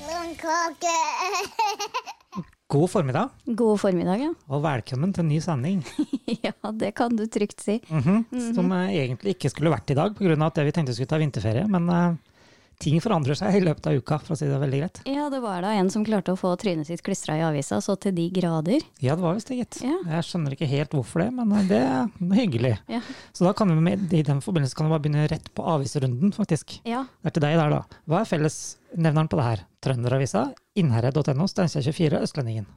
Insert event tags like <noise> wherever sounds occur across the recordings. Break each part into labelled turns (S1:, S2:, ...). S1: pannkake.
S2: God formiddag,
S3: God formiddag, ja.
S2: og velkommen til en ny sending.
S3: <laughs> Ja, det kan du trygt si.
S2: Mhm, Som eh, egentlig ikke skulle vært i dag, pga. at det vi tenkte skulle ta vinterferie. Men eh, ting forandrer seg i løpet av uka, for å si det veldig greit.
S3: Ja, det var da en som klarte å få trynet sitt klistra i avisa, så til de grader.
S2: Ja, det var visst det, gitt.
S3: Ja.
S2: Jeg skjønner ikke helt hvorfor det, men eh, det er hyggelig.
S3: Ja.
S2: Så da kan vi med, i den forbindelse kan vi bare begynne rett på avisrunden, faktisk.
S3: Ja,
S2: Det er til deg der, da. Hva er fellesnevneren på det her? Trønderavisa, innherred.no, Steinkjer24, Østlendingen.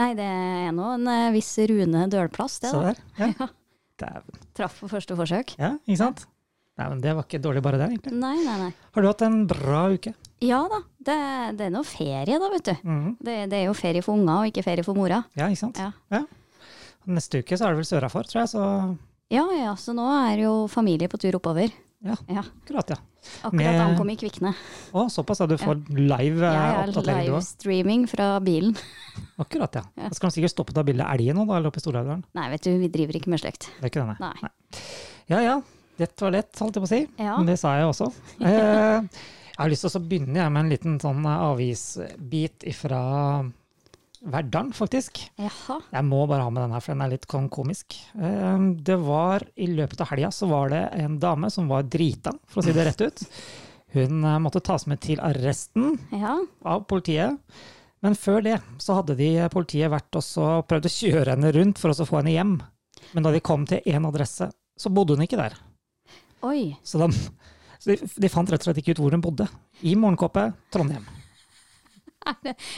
S3: Nei, det er nå en eh, viss Rune Dølplass, det
S2: Se
S3: da.
S2: der. Ja. Dæven.
S3: Traff på første forsøk.
S2: Ja, ikke sant? Nei, men det var ikke dårlig bare det, egentlig.
S3: Nei, nei, nei.
S2: Har du hatt en bra uke?
S3: Ja da, det, det er nå ferie da, vet du.
S2: Mhm.
S3: Det, det er jo ferie for unga og ikke ferie for mora.
S2: Ja, ikke sant?
S3: Ja.
S2: Neste uke så er det vel sørafor, tror jeg, så
S3: Ja ja, så nå er jo familie på tur oppover.
S2: ja,
S3: Ja,
S2: akkurat, ja.
S3: akkurat
S2: Med-
S3: ankom i Kvikne.
S2: Å, såpass, ja. Du får live eh,
S3: Jeg er
S2: oppdatering, du òg.
S3: livestreaming fra bilen.
S2: Akkurat, ja.
S3: Ja.
S2: Da skal de sikkert stoppe av bildet av elgen nå, da, eller oppe i Storhaugdalen.
S3: Nei, vet du, vi driver ikke med slekt.
S2: Det er ikke denne.
S3: Nei.
S2: Ja ja, lett var lett, holdt jeg på å si.
S3: Ja.
S2: Men det sa jeg
S3: <laughs>
S2: også. Eh, jeg har lyst til å så begynne jeg, med en liten sånn eh, avisbit ifra Verdalen, faktisk.
S3: Jaha.
S2: Jeg må bare ha med den her, for den er litt kon- komisk. Eh, Det var, I løpet av helga så var det en dame som var drita, for å si det rett ut. Hun eh, måtte tas med til arresten
S3: Ja.
S2: av politiet. Men før det så hadde de eh, politiet vært og så prøvd å kjøre henne rundt for å så få henne hjem. Men da de kom til én adresse, så bodde hun ikke der.
S3: Oi.
S2: Så, de, så de, de fant rett og slett ikke ut hvor hun bodde. I Morgenkåpe, Trondheim.
S3: <laughs>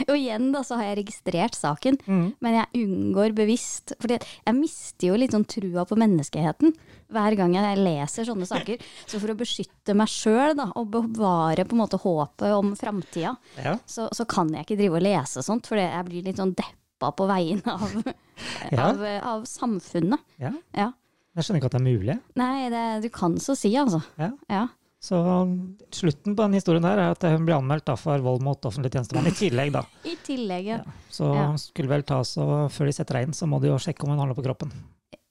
S3: Og igjen da, så har jeg registrert saken, men jeg unngår bevisst. For jeg mister jo litt sånn trua på menneskeheten hver gang jeg leser sånne saker. Så for å beskytte meg sjøl og bevare på en måte håpet om framtida,
S2: Ja.
S3: så, så kan jeg ikke drive og lese sånt, for jeg blir litt sånn deppa på vegne av,
S2: <laughs> Ja.
S3: av, av samfunnet.
S2: ja.
S3: Ja.
S2: Jeg skjønner ikke at det er mulig.
S3: Nei, det, du kan så si, altså.
S2: Ja.
S3: Ja.
S2: Så slutten på den historien der er at hun ble anmeldt da for vold mot offentlig tjenestemann i tillegg, da.
S3: I tillegg, ja.
S2: Så
S3: Ja.
S2: skulle vel tas, og før de setter deg inn, så må de jo sjekke om hun har noe på kroppen.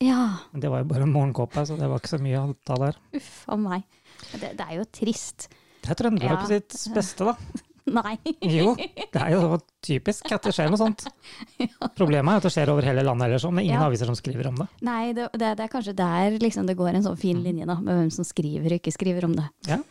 S3: ja.
S2: Men det var jo bare en morgenkåpe, så det var ikke så mye å ta der.
S3: Uff a meg. Det, det er jo trist. <laughs>
S2: Det er trøndere
S3: Ja.
S2: på sitt beste, da.
S3: Nei.
S2: Jo, det er jo typisk at det skjer noe sånt. Problemet er at det skjer over hele landet ellers, men det er ingen
S3: Ja.
S2: aviser som skriver om det.
S3: Nei, det, det, det er kanskje der liksom, det går en sånn
S2: Mm.
S3: fin linje da, med hvem som skriver og ikke skriver om det.
S2: Ja.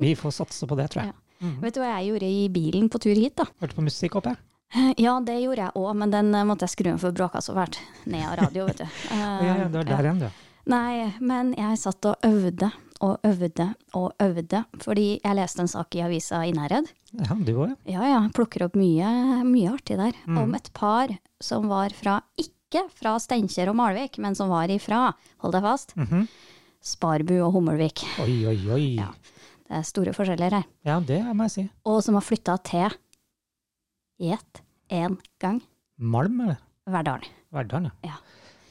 S2: Vi får satse på det, tror jeg.
S3: Ja.
S2: Mm.
S3: Vet du hva jeg gjorde i bilen på tur hit? da?
S2: Hørte på musikk opp, jeg.
S3: Ja, det gjorde jeg òg, men den eh, måtte jeg skru av for bråka så fælt. Ned av radio, vet du. Eh,
S2: <laughs> Ja, ja, det var der igjen, du.
S3: Nei, men jeg satt og øvde og øvde og øvde, fordi jeg leste en sak i avisa Innherred.
S2: Ja, du òg, ja.
S3: Ja ja, plukker opp mye, mye artig der.
S2: Mm.
S3: Om et par som var fra, ikke fra Steinkjer og Malvik, men som var ifra, hold deg fast, Sparbu og Hummelvik.
S2: Mhm. Oi, oi, oi. Ja,
S3: Ja. Det er store forskjeller her.
S2: det må jeg si.
S3: Og som har flytta til Gjett én gang
S2: Malm, eller?
S3: Verdalen.
S2: Verdalen,
S3: Ja.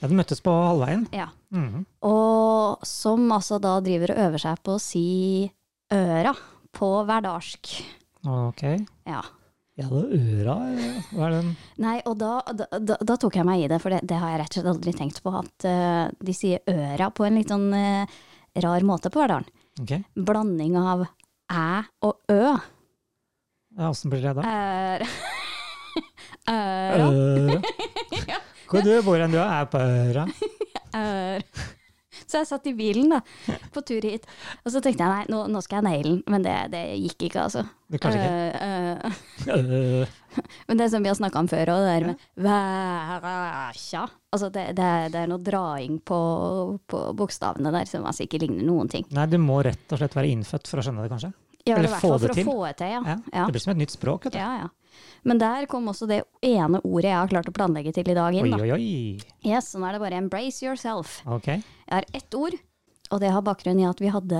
S2: Ja, de møttes på halvveien.
S3: Ja.
S2: Mhm.
S3: Og som altså da driver og øver seg på å si øra på hverdalsk.
S2: Ok.
S3: Ja.
S2: Ja, det er øra eh, Hva er den?
S3: Nei, og da, da, da, da tok jeg meg i det, for det, det har jeg rett og slett aldri tenkt på, at eh, de sier øra på en litt sånn eh, rar måte på Verdalen.
S2: Ok.
S3: Blanding av æ og ø.
S2: Ja, Åssen blir det da?
S3: Er- <laughs> Øra. <laughs>
S2: Øra. Hvor du bor hen du er, er på øra.
S3: er. Eh, <laughs> Så jeg satt i bilen da, på tur hit, og så tenkte jeg nei, nå, nå skal jeg naile den, men det, det gikk ikke, altså.
S2: Det kanskje ikke.
S3: Eh, eh,
S2: Øh.
S3: men det som vi har snakka om før, og det der med væræsja altså det, det, er- det er noe draing på, på bokstavene der som altså ikke ligner noen ting.
S2: Nei, du må rett og slett være innfødt for å skjønne det, kanskje?
S3: Ja,
S2: Eller
S3: i hvert
S2: få
S3: fall
S2: det
S3: for
S2: til.
S3: å få det til, ja.
S2: Ja.
S3: ja.
S2: Det blir som et nytt språk, vet du.
S3: ja, ja. Men der kom også det ene ordet jeg har klart å planlegge til i dag
S2: Oi,
S3: inn. Da.
S2: oi, oi.
S3: Yes, så nå er det bare 'embrace yourself'.
S2: Ok.
S3: Jeg har ett ord, og det har bakgrunn i at vi hadde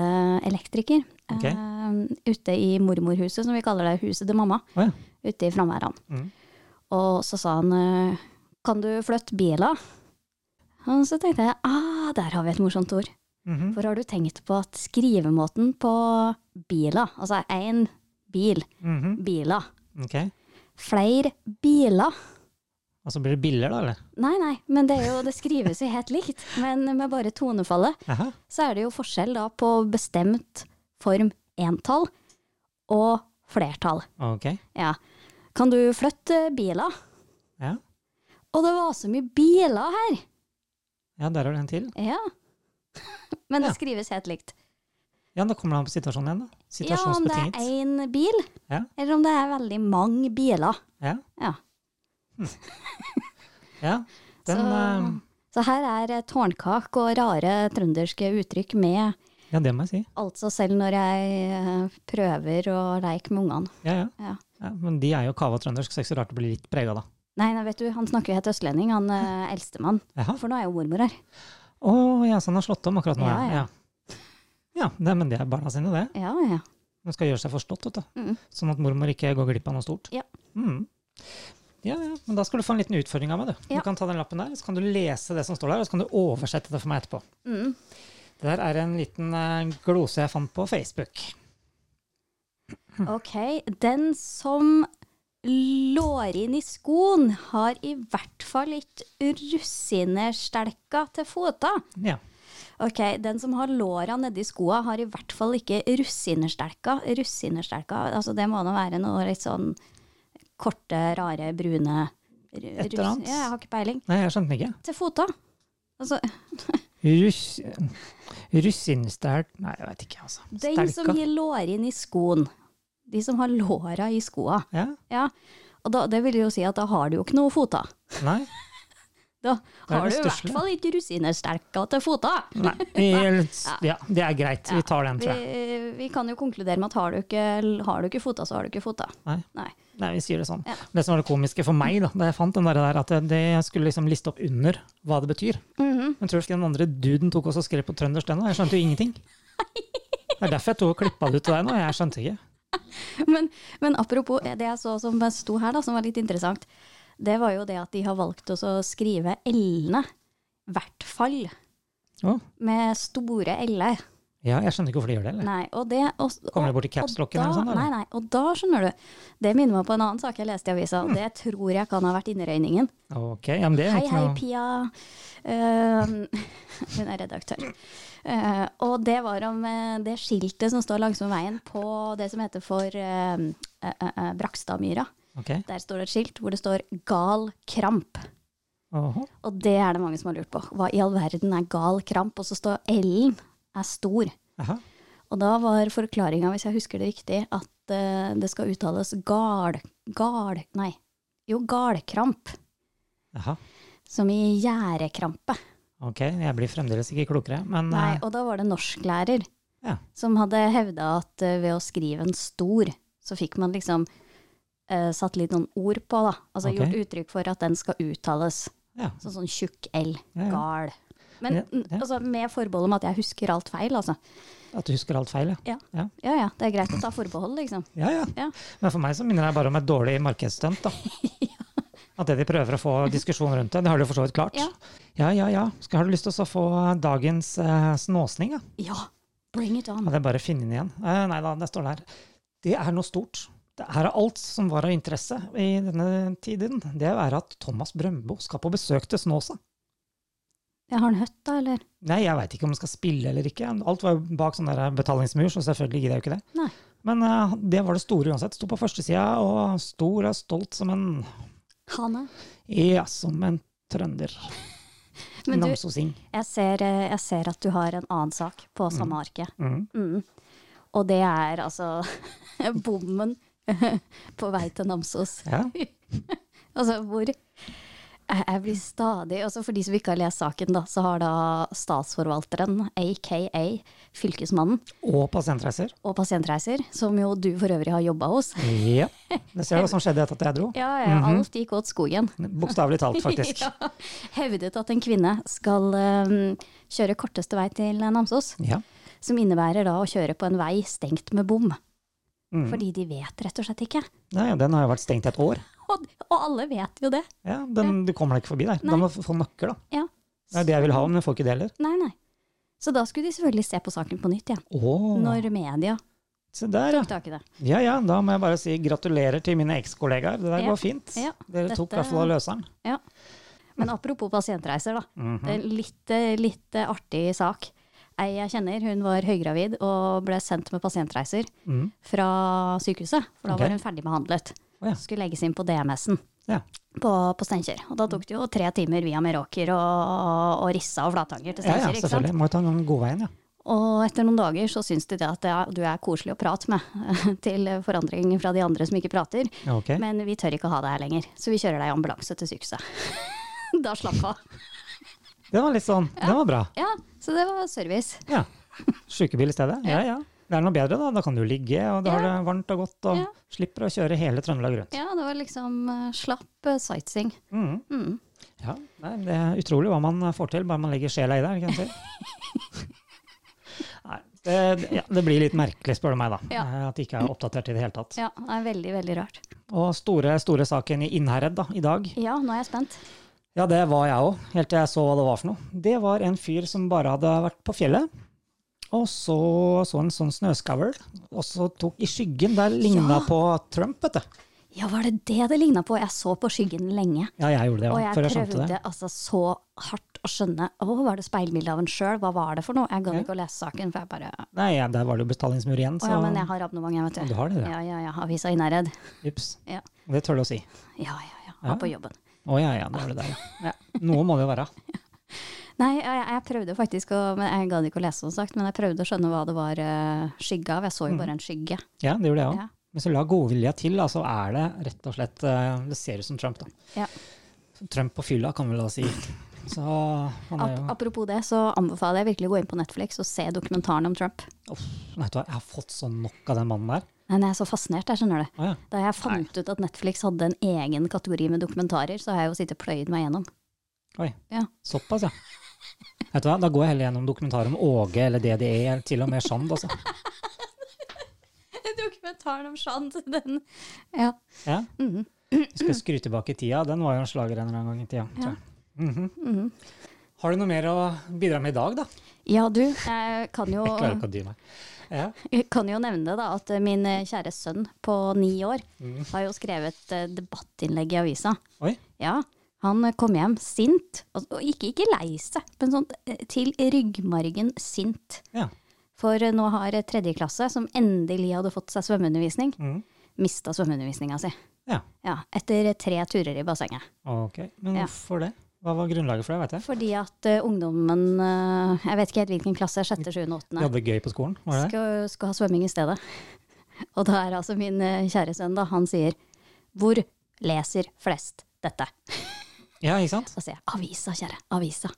S3: elektriker
S2: Ok.
S3: eh, ute i mormorhuset, som vi kaller det, huset til mamma,
S2: Å ja.
S3: ute i Framværan.
S2: Mm.
S3: Og så sa han eh, 'kan du flytte bila?' Og så tenkte jeg ah, der har vi et morsomt ord.
S2: Mhm.
S3: For har du tenkt på at skrivemåten på bila, altså én bil,
S2: Mhm.
S3: bila,
S2: Ok.
S3: flere biler
S2: Og så blir det biller, da, eller?
S3: Nei, nei, men det, er jo, det skrives jo helt likt, men med bare tonefallet.
S2: Aha.
S3: så er det jo forskjell da på bestemt form entall og flertall.
S2: Ok.
S3: Ja. Kan du flytte biler?
S2: Ja.
S3: Og det var så mye biler her!
S2: ja, der er det en til.
S3: Ja. Men det
S2: Ja.
S3: skrives helt likt.
S2: Ja, Da kommer det an på situasjonen igjen. da.
S3: Ja, om det er
S2: Situasjonsbetinget.
S3: én bil,
S2: Ja.
S3: eller om det er veldig mange biler.
S2: Ja.
S3: Ja.
S2: Ja, den,
S3: så,
S2: eh,
S3: så her er eh, tårnkak og rare trønderske uttrykk med,
S2: ja, det må jeg si.
S3: altså selv når jeg eh, prøver å leke med ungene.
S2: Ja, ja.
S3: Ja.
S2: Ja, men de er jo kava trøndersk, så det er ikke så rart det blir litt prega, da.
S3: Nei, nei, vet du, han snakker jo helt østlending, han eh, eldstemann.
S2: Jaha.
S3: For nå er jo mormor her.
S2: Å ja, så han har slått om akkurat nå.
S3: Ja, ja.
S2: Ja, nei, men det er barna sine, det.
S3: Ja, ja.
S2: De skal gjøre seg forstått, vet du.
S3: Mm.
S2: Sånn at mormor ikke går glipp av noe stort.
S3: Ja.
S2: Mm. Ja, ja, men Da skal du få en liten utfordring av meg. Du
S3: Ja.
S2: Du kan ta den lappen der, så kan du lese det som står der, og så kan du oversette det for meg etterpå.
S3: Mm.
S2: Det der er en liten eh, glose jeg fant på Facebook.
S3: Ok, den som lår inn i skoen, har i hvert fall ikke russinestelka til fota.
S2: Ja.
S3: Ok, den som har låra nedi skoa, har i hvert fall ikke russinestelka. Russinestelka, altså det må da være noe litt sånn korte, rare, brune Et
S2: Et eller annet.
S3: Ja, jeg har ikke peiling.
S2: Nei, jeg skjønte den ikke.
S3: Til fota. Altså,
S2: Russ... Russinstæl... Nei, jeg veit ikke, altså.
S3: den som gir lår inn i skoen. De som har låra i skoa.
S2: Ja?
S3: Ja, og da, det vil jo si at da har du jo ikke noe fota.
S2: Nei?
S3: Da
S2: Da er
S3: har du
S2: det
S3: i hvert
S2: stusslig.
S3: fall ikke rusinestelka til fota. <laughs>
S2: Nei. Ja, det er greit. Vi tar den,
S3: Vi,
S2: tror jeg.
S3: vi kan jo konkludere med at har du, ikke, har du ikke fota, så har du ikke fota.
S2: Nei.
S3: Nei. <laughs>
S2: Nei, vi sier det sånn.
S3: Ja.
S2: Det som var det komiske for meg, da, da jeg fant den der, der at det- det- jeg skulle liksom liste opp under hva det betyr.
S3: Mhm.
S2: Men tror du ikke den andre duden tok også og skrev på trøndersk den? da? Jeg skjønte jo ingenting. Det er derfor jeg tok og klippa det ut til deg nå. Jeg skjønte ikke.
S3: men, men apropos det jeg så som sto her, da, som var litt interessant, det var jo det at de har valgt oss å skrive L-ene. Hvert fall.
S2: Å,
S3: Med store L-er.
S2: ja, jeg skjønner ikke hvorfor de gjør det. Eller?
S3: Nei, og det, og, og,
S2: Kommer det bort i
S3: Og
S2: capslocken
S3: da-
S2: eller sånn?
S3: Nei,
S2: Eller?
S3: nei, og da skjønner du. Det minner meg på en annen sak jeg leste i avisa,
S2: Mm.
S3: og det tror jeg kan ha vært innrøyningen.
S2: Ok, ja, men det er
S3: Hei,
S2: ikke
S3: hei,
S2: noe
S3: Pia. Eh, <laughs> hun er redaktør. Eh, og det var om eh, det skiltet som står langsom veien på det som heter for eh, eh, eh, Brakstadmyra.
S2: Ok.
S3: Der står det et skilt hvor det står 'gal kramp'.
S2: Åhå.
S3: Og det er det mange som har lurt på. Hva i all verden er gal kramp? Og så står L-en er stor.
S2: Aha.
S3: Og da var forklaringa, hvis jeg husker det riktig, at eh, det skal uttales gal... Gal... Nei. Jo, galkramp.
S2: Aha.
S3: Som i gjærekrampe.
S2: Ok, jeg blir fremdeles ikke klokere, men
S3: Nei,
S2: eh,
S3: og da var det norsklærer
S2: Ja.
S3: som hadde hevda at eh, ved å skrive en stor, så fikk man liksom eh, satt litt noen ord på, da. Altså
S2: Ok.
S3: gjort uttrykk for at den skal uttales.
S2: ja.
S3: Så, sånn tjukk L.
S2: Ja, ja.
S3: Gal. Men
S2: Ja,
S3: mm,
S2: ja.
S3: altså, med forbehold om at jeg husker alt feil, altså.
S2: At du husker alt feil, ja.
S3: Ja ja, det er greit å ta forbehold, liksom.
S2: Ja, ja.
S3: Ja.
S2: Men for meg så minner det bare om et dårlig markedsstunt.
S3: <laughs>
S2: da. At det de prøver å få diskusjon rundt det, det har de jo for så vidt klart.
S3: Ja.
S2: ja, ja. ja. Skal, har du lyst til å få dagens eh, snåsning? Ja?
S3: Ja, bring it on.
S2: Hadde jeg bare funnet den igjen. Eh, nei da, det står der. Det er noe stort. Det her er alt som var av interesse i denne tiden. Det er at Thomas Brøndbo skal på besøk til Snåsa.
S3: Jeg har en høtt, da, eller?
S2: Nei, jeg veit ikke om han skal spille eller ikke. Alt var jo bak sånn der betalingsmur, så selvfølgelig gidder jeg jo ikke det.
S3: Nei.
S2: Men eh, det var det store uansett. Sto på førstesida og stor og stolt som en
S3: Hanne.
S2: Ja, som en trønder.
S3: Men du,
S2: Namsosing.
S3: jeg ser, eh, jeg ser at du har en annen sak på samme arket.
S2: Mm.
S3: Mm. Og det er altså <laughs> bommen <laughs> på vei til Namsos.
S2: Ja.
S3: Altså hvor jeg jeg blir stadig altså For de som ikke har lest saken, da, så har da statsforvalteren, aka fylkesmannen,
S2: Og pasientreiser.
S3: og Pasientreiser, som jo du for øvrig har jobba hos
S2: Ja. Det ser du hva som skjedde etter at jeg dro.
S3: Ja, ja, alt gikk åt skogen.
S2: Bokstavelig talt, Mhm. <laughs> faktisk.
S3: <laughs> Ja. Hevdet at en kvinne skal eh, kjøre korteste vei til Namsos.
S2: Ja.
S3: Som innebærer da å kjøre på en vei stengt med bom.
S2: Mm.
S3: Fordi de vet rett og slett ikke.
S2: Nei, ja, den har jo vært stengt i et år.
S3: Og, og alle vet jo det.
S2: Ja, den, du kommer deg ikke forbi der. Da må du få nøkkel, da.
S3: Ja.
S2: Det er det jeg vil ha, men jeg får ikke det heller.
S3: Nei, nei. Så da skulle de selvfølgelig se på saken på nytt igjen.
S2: Å,
S3: Når media
S2: se der, ja.
S3: tok tak i det.
S2: Ja ja, da må jeg bare si gratulerer til mine ekskollegaer. Det der
S3: Ja.
S2: går fint.
S3: Ja.
S2: Dere tok i
S3: Dette-
S2: hvert fall av løseren.
S3: Men apropos pasientreiser, da.
S2: Mhm.
S3: Det er en litt, eh, litt eh, artig sak. ei jeg kjenner, hun var høygravid og ble sendt med pasientreiser
S2: Mm.
S3: fra sykehuset. For da
S2: Ok.
S3: var hun ferdig behandlet.
S2: Å ja.
S3: Skulle legges inn på DMS-en
S2: Ja.
S3: på, på Steinkjer. Og da tok det jo tre timer via Meråker og, og Rissa og Flatanger til
S2: ja, ja,
S3: Steinkjer. ikke sant?
S2: selvfølgelig. Må jo ta den godveien, ja.
S3: Og etter noen dager så syns de det at ja, du er koselig å prate med, <laughs> til forandring fra de andre som ikke prater.
S2: Ja, ok.
S3: Men vi tør ikke å ha deg her lenger, så vi kjører deg i ambulanse til sykehuset. <laughs> da slapp av.
S2: Det var litt sånn. Det var bra.
S3: Ja, så det var service.
S2: Ja. Sykebil i stedet. Ja, ja. Det er noe bedre, da. Da kan du ligge, og du har det varmt og godt, og
S3: Ja.
S2: slipper å kjøre hele Trøndelag rundt.
S3: Ja, det var liksom eh, slapp eh, sightseeing.
S2: Mm.
S3: Mm.
S2: Ja, nei, det er utrolig hva man får til, bare man legger sjela i det, er det ikke det man
S3: <laughs>
S2: sier? Nei, det, ja, det blir litt merkelig, spør du meg, da.
S3: Ja.
S2: eh, At de ikke er oppdatert i det hele tatt.
S3: Ja, det er veldig, veldig rart.
S2: Og store, store saken i Innherred da, i dag,
S3: Ja, nå er jeg spent.
S2: ja, det var jeg òg, helt til jeg så hva det var for noe. Det var en fyr som bare hadde vært på fjellet, og så så en sånn snøskavl, og så tok i skyggen der ligna
S3: Ja.
S2: på Trump, vet du.
S3: Ja, var det det det ligna på? Jeg så på skyggen lenge.
S2: Ja, jeg gjorde det
S3: Og
S2: òg,
S3: jeg
S2: før jeg skjønte det.
S3: prøvde altså så hardt å skjønne Å, var det speilbilde av en sjøl? Hva var det for noe? Jeg gadd
S2: Ja.
S3: ikke å lese saken, for jeg bare Å
S2: Nei, ja, der var det jo betalingsmur igjen, så
S3: ja, men jeg har abonnement, jeg,
S2: Ja,
S3: vet
S2: du
S3: du.
S2: har det, ja.
S3: Ja, ja, ja. Avisa Innherred.
S2: Ups.
S3: Ja.
S2: Det tør du å si.
S3: ja, ja, ja.
S2: Ja.
S3: Var på jobben.
S2: Å ja, ja, det var det der, ja. ja. Noe må det jo være.
S3: Nei, jeg, jeg prøvde faktisk å men Jeg gadd ikke å lese, som sagt, men jeg prøvde å skjønne hva det var eh, skygge av. Jeg
S2: Mm.
S3: så jo bare en skygge.
S2: Ja, det gjorde jeg òg.
S3: Ja.
S2: Men så la godvilja til, da, så er det rett og slett eh, Det ser ut som Trump, da.
S3: Ja.
S2: Trump på fylla, kan vi la oss si. Så han er
S3: Ap
S2: jo
S3: apropos det, så anbefaler jeg virkelig å gå inn på Netflix og se dokumentaren om Trump.
S2: Uff, Vet du hva, jeg har fått så nok av den mannen der.
S3: Nei, nei, jeg er så fascinert, jeg skjønner det.
S2: Å ja.
S3: Da jeg fant ut at Netflix hadde en egen kategori med dokumentarer, så har jeg jo sittet og pløyd meg gjennom.
S2: Oi.
S3: Ja.
S2: Såpass, ja. Vet du hva, Da går jeg heller gjennom dokumentarer om Åge eller DDE, eller til og med Shand. Altså.
S3: <laughs> Dokumentaren om Shant, den Ja.
S2: Ja.
S3: Mm-hmm.
S2: Vi skal skru tilbake i tida. Den var jo en slager en eller annen gang i tida. tror jeg. Mhm.
S3: Mm-hmm.
S2: Har du noe mer å bidra med i dag, da?
S3: Ja, du, jeg kan jo,
S2: Jeg klarer ikke å dy meg. Ja.
S3: jeg kan jo nevne det, da, at min eh, kjære sønn på ni år har jo skrevet eh, debattinnlegg i avisa.
S2: Oi.
S3: Ja, han eh, kom hjem sint, altså, og og ikke, ikke lei seg, men sånn eh, til ryggmargen sint.
S2: Ja.
S3: For eh, nå har eh, tredje klasse, som endelig hadde fått seg svømmeundervisning,
S2: Mhm.
S3: mista svømmeundervisninga si.
S2: ja.
S3: Ja, etter eh, tre turer i bassenget.
S2: Ok, men
S3: Ja.
S2: hvorfor det? Hva var grunnlaget for det, vet jeg?
S3: Fordi at eh, ungdommen, eh, jeg vet ikke helt hvilken klasse, sjette, sjuende,
S2: De
S3: åttende,
S2: hadde det gøy på skolen, var det det?
S3: skal, skal ha svømming i stedet. <laughs> Og da er altså min eh, kjære sønn, da, han sier hvor leser flest dette?
S2: Ja, ikke sant?
S3: Så sier jeg avisa, kjære, avisa.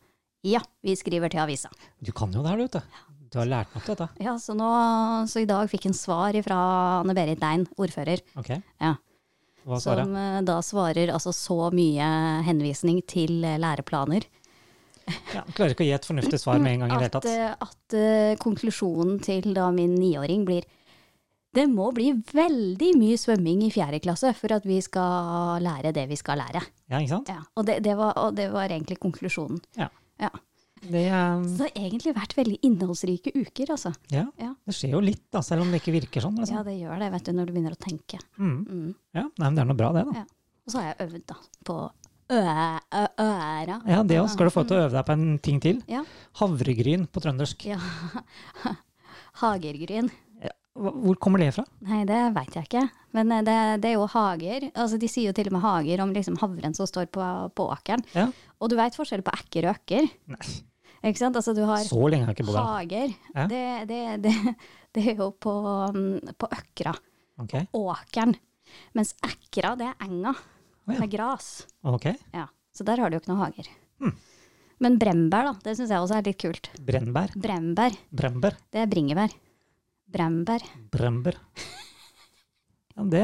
S3: Ja, vi skriver til avisa.
S2: Du kan jo det her, du, vet du. Du har lært nok til dette.
S3: Ja, så, nå, så i dag fikk han svar fra Anne-Berit Lein, ordfører,
S2: Ok,
S3: ja,
S2: hva svarer
S3: som
S2: jeg?
S3: eh, da svarer altså så mye henvisning til eh, læreplaner.
S2: Ja, klarer ikke å gi et fornuftig svar med en gang i det hele
S3: At,
S2: tatt.
S3: eh, at eh, konklusjonen til da min niåring blir det må bli veldig mye svømming i fjerde klasse for at vi skal lære det vi skal lære.
S2: Ja, ikke sant?
S3: Ja, og, det, det var, og det var egentlig konklusjonen.
S2: Ja.
S3: Ja.
S2: Det, eh,
S3: Så det har egentlig vært veldig innholdsrike uker, altså.
S2: ja,
S3: Ja.
S2: det skjer jo litt, da, selv om det ikke virker sånn.
S3: Ja,
S2: Liksom.
S3: det gjør det, vet du, når du begynner å tenke.
S2: Mm.
S3: Mm.
S2: Ja, nei, men det er noe bra, det, da.
S3: Ja. Og så har jeg øvd, da, på ø- ø- øra.
S2: Ja, det også skal du få til å
S3: Mm.
S2: øve deg på en ting til.
S3: Ja.
S2: Havregryn på trøndersk.
S3: ja. <laughs> Hagergryn.
S2: Hva- Hvor kommer det fra?
S3: Nei, det veit jeg ikke. Men eh, det, det er jo hager. Altså, de sier jo til og med hager om liksom havren som står på, på åkeren.
S2: Ja.
S3: Og du veit forskjell på ekker og økker.
S2: Nei,
S3: Ikke sant? Altså, du har
S2: så lenge har jeg ikke bodd her.
S3: hager.
S2: Ja.
S3: Det, det, det, det er jo på, mm, på økra.
S2: Ok,
S3: Åkeren. Mens ekra, det er enga.
S2: Å ja.
S3: Det er gras.
S2: ok.
S3: Ja. Så der har du jo ikke noe hager.
S2: Hmm.
S3: Men brembær, da. Det syns jeg også er litt kult.
S2: Brennbær.
S3: Brembær,
S2: Brember.
S3: det er bringebær. Brembær.
S2: Brember. Ja, det,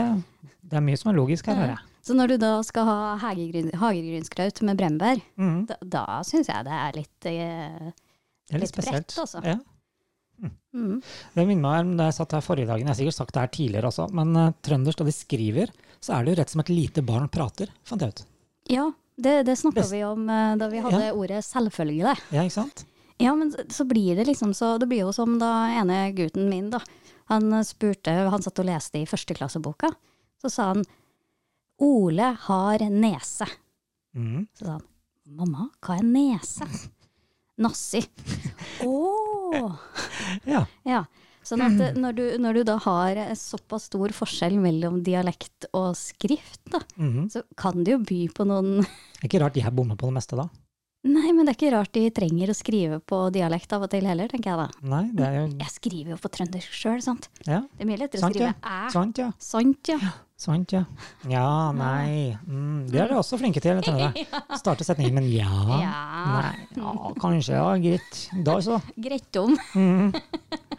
S2: det er mye som er logisk her, hører jeg.
S3: Så når du da skal ha hagegryn, hagegrynskreut med brembær,
S2: Mhm.
S3: da, da syns jeg det er litt
S2: Det
S3: eh,
S2: er litt
S3: Litt bredt,
S2: spesielt.
S3: altså.
S2: Ja.
S3: mm.
S2: Det minner meg om da jeg satt her forrige dagen, jeg har sikkert sagt det her tidligere også, men eh, trøndersk, da de skriver, så er det jo rett som et lite barn prater, fant jeg ut.
S3: Ja, det, det snakka
S2: Best-
S3: vi om eh, da vi hadde ordet selvfølge.
S2: Ja, ikke sant?
S3: Ja, men så- så blir det liksom så Det blir jo som da ene gutten min, da. Han eh, spurte Han satt og leste i førsteklasseboka. Så sa han Ole har nese.
S2: Mhm. <laughs>
S3: Så sa han mamma, hva er nese? Nazi. Å, Å.
S2: Ja.
S3: Ja. Sånn at eh, når du, når du da har eh, såpass stor forskjell mellom dialekt og skrift, da,
S2: mhm.
S3: så kan det jo by på noen <laughs>
S2: Det er ikke rart jeg bommer på det meste da.
S3: Nei, men det er ikke rart de trenger å skrive på dialekt av og til heller, tenker jeg da.
S2: Nei, det er jo
S3: Jeg skriver jo på trøndersk sjøl, sant.
S2: ja.
S3: Det er mye lettere
S2: Sant,
S3: å
S2: ja.
S3: skrive æ.
S2: Sant, ja.
S3: Sant, ja.
S2: Sant, ja. Ja, nei. Mm, det er dere også flinke til, dette. Starte setningen med ja.
S3: Ja.
S2: Nei, ja, kanskje, ja, greit. Da så.
S3: Grettom.
S2: Mm.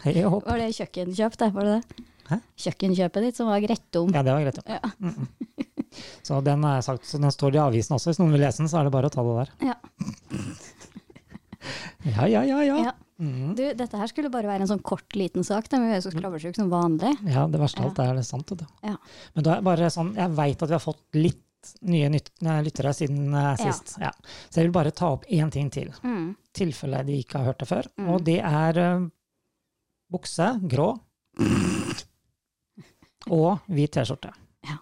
S2: Hei og hopp.
S3: <laughs> Var det kjøkkenkjøp, det? Var det det?
S2: Hæ?
S3: Kjøkkenkjøpet ditt som var Grettom.
S2: Ja, det var greit. Ja.
S3: Ja.
S2: Mm. Så den er sagt, så den står i avisen også. Hvis noen vil lese den, så er det bare å ta det der.
S3: Ja.
S2: Ja, ja, ja, ja. Mm.
S3: Ja. Du, dette her skulle bare være en sånn kort, liten sak. Da. men Vi er jo så skravlesjuke som vanlig.
S2: Ja, det verste av alt er det sant. vet du.
S3: Ja.
S2: Men da er det bare sånn, jeg veit at vi har fått litt nye nytt, nei, lyttere siden eh,
S3: Ja.
S2: sist. Ja. Så jeg vil bare ta opp én ting til,
S3: Mm.
S2: tilfelle de ikke har hørt det før.
S3: Mm.
S2: Og det er eh, bukse, grå, og hvit T-skjorte.
S3: Ja.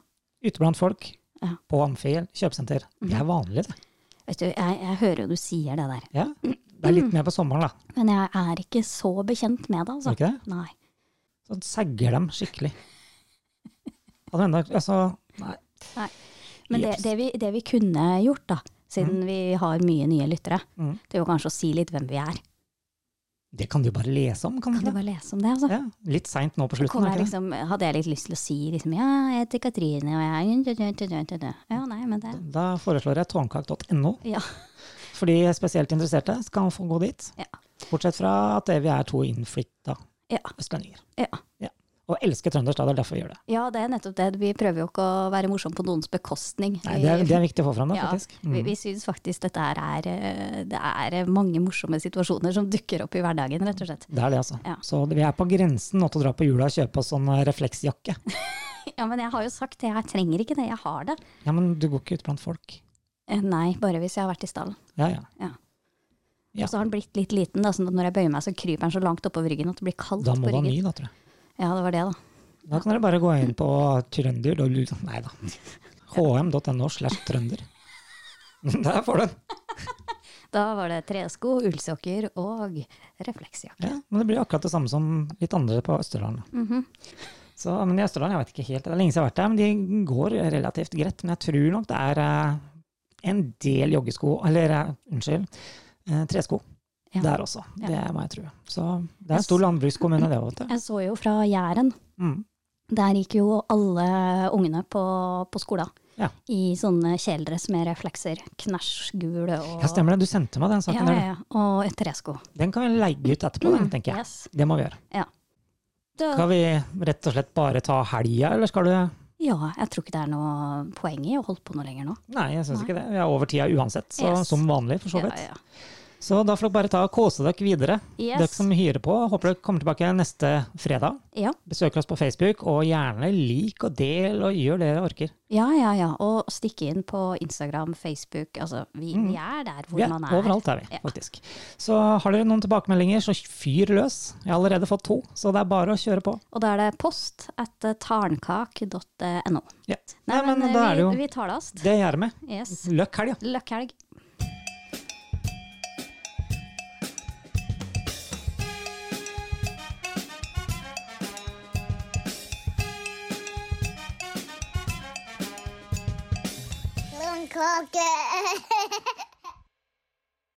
S2: Ute blant folk,
S3: Ja. Mm.
S2: på Amfil, kjøpesenter. Det er vanlig, det.
S3: Vet du, jeg, jeg hører jo du sier det der,
S2: Ja. Det er
S3: Mm.
S2: litt mer på sommeren, da.
S3: men jeg er ikke så bekjent med det, altså.
S2: Er det ikke det?
S3: Nei.
S2: Så sagger dem skikkelig. Hadde enda, altså, nei.
S3: Men det,
S2: Jeps.
S3: det, vi, det vi kunne gjort, da, siden vi har mye nye lyttere,
S2: Mm.
S3: det er jo kanskje å si litt hvem vi er.
S2: Det kan du jo bare lese om, kan du ikke
S3: Kan du
S2: det?
S3: bare lese om det? altså?
S2: Ja, litt seint nå på slutten.
S3: Kom
S2: er
S3: jeg
S2: ikke det?
S3: liksom, hadde jeg litt lyst til å si liksom, ja, jeg heter Katrine, og jeg Ja, nei, men det
S2: Da foreslår jeg tårnkak.no.
S3: Ja.
S2: For de spesielt interesserte skal få gå dit.
S3: Ja.
S2: Bortsett fra at vi er to innflytta
S3: Ja.
S2: østlendinger.
S3: Ja.
S2: Og elsker trøndersk, da. Det er derfor vi gjør det.
S3: ja, det er nettopp det. Vi prøver jo ikke å være morsomme på noens bekostning.
S2: Nei, det, er, det er viktig å få fram, det,
S3: Ja,
S2: faktisk. Mm.
S3: Vi, vi syns faktisk dette her er eh, Det er mange morsomme situasjoner som dukker opp i hverdagen, rett og slett.
S2: Det er det, altså.
S3: Ja.
S2: Så vi er på grensen nå til å dra på jula og kjøpe oss sånn refleksjakke.
S3: <laughs> Ja, men jeg har jo sagt det, jeg trenger ikke det, jeg har det.
S2: Ja, men du går ikke ut blant folk.
S3: Eh, Nei, bare hvis jeg har vært i stallen.
S2: Ja, ja. Ja.
S3: Og så har den blitt litt liten, da, sånn at når jeg bøyer meg, så kryper den så langt oppover ryggen at det blir kaldt
S2: Da må
S3: på
S2: du ha ny,
S3: ryggen.
S2: da, tror jeg.
S3: Ja, det var det, da.
S2: Da kan dere bare gå inn på trønder... Nei
S3: <laughs>
S2: da. hm.no slash trønder. <laughs> Der får du den!
S3: Da var det tresko, ullsokker og refleksjakke. Mhm.
S2: Ja, men det blir akkurat det samme som litt andre på Østerdalen. Så, men i Østerdalen, jeg vet ikke helt, det er lenge siden jeg har vært der, men de går relativt greit. Men jeg tror nok det er eh, en del joggesko, eller eh, unnskyld, eh, tresko
S3: Ja.
S2: der også.
S3: Ja.
S2: Det må jeg tro. Så det er en stor landbrukskommune det,
S3: <laughs>
S2: vet du.
S3: Jeg så jo fra Jæren,
S2: Mm.
S3: der gikk jo alle ungene på, på skolen
S2: Ja.
S3: i sånne kjeledress med reflekser, knæsj, gule og
S2: Ja, stemmer det. Du sendte meg den saken
S3: ja,
S2: der.
S3: ja, og et tresko. Mm.
S2: du. Den kan vi legge ut etterpå, den, tenker jeg.
S3: Yes.
S2: Det må vi gjøre.
S3: Da,
S2: Skal vi rett og slett bare ta helga, eller skal du
S3: ja, jeg tror ikke det er noe poeng i å holde på noe lenger nå.
S2: Nei, jeg syns
S3: Nei.
S2: ikke det. Vi er over tida uansett, så
S3: Yes.
S2: som vanlig, for så vidt.
S3: Ja, ja.
S2: Så da får dere bare ta og kose dere videre.
S3: Yes.
S2: Dere som hyrer på, håper dere kommer tilbake neste fredag.
S3: Ja.
S2: Besøk oss på Facebook, og gjerne lik og del, og gjør det dere orker.
S3: ja, ja, ja. Og stikke inn på Instagram, Facebook. Altså, vi, vi er der hvor
S2: Vi er,
S3: man er.
S2: Mm. overalt er vi,
S3: Ja.
S2: faktisk. Så har dere noen tilbakemeldinger, så fyr løs. Jeg har allerede fått to, så det er bare å kjøre på.
S3: Og da er det post at eh, tarnkak.no.
S2: Ja.
S3: Nei, men, eh,
S2: da er det
S3: vi,
S2: jo Mhm.
S3: vi tar det oss.
S2: Det gjør vi.
S3: Yes.
S2: Løkk helga!
S3: Løkkhelg.
S1: Long cocker.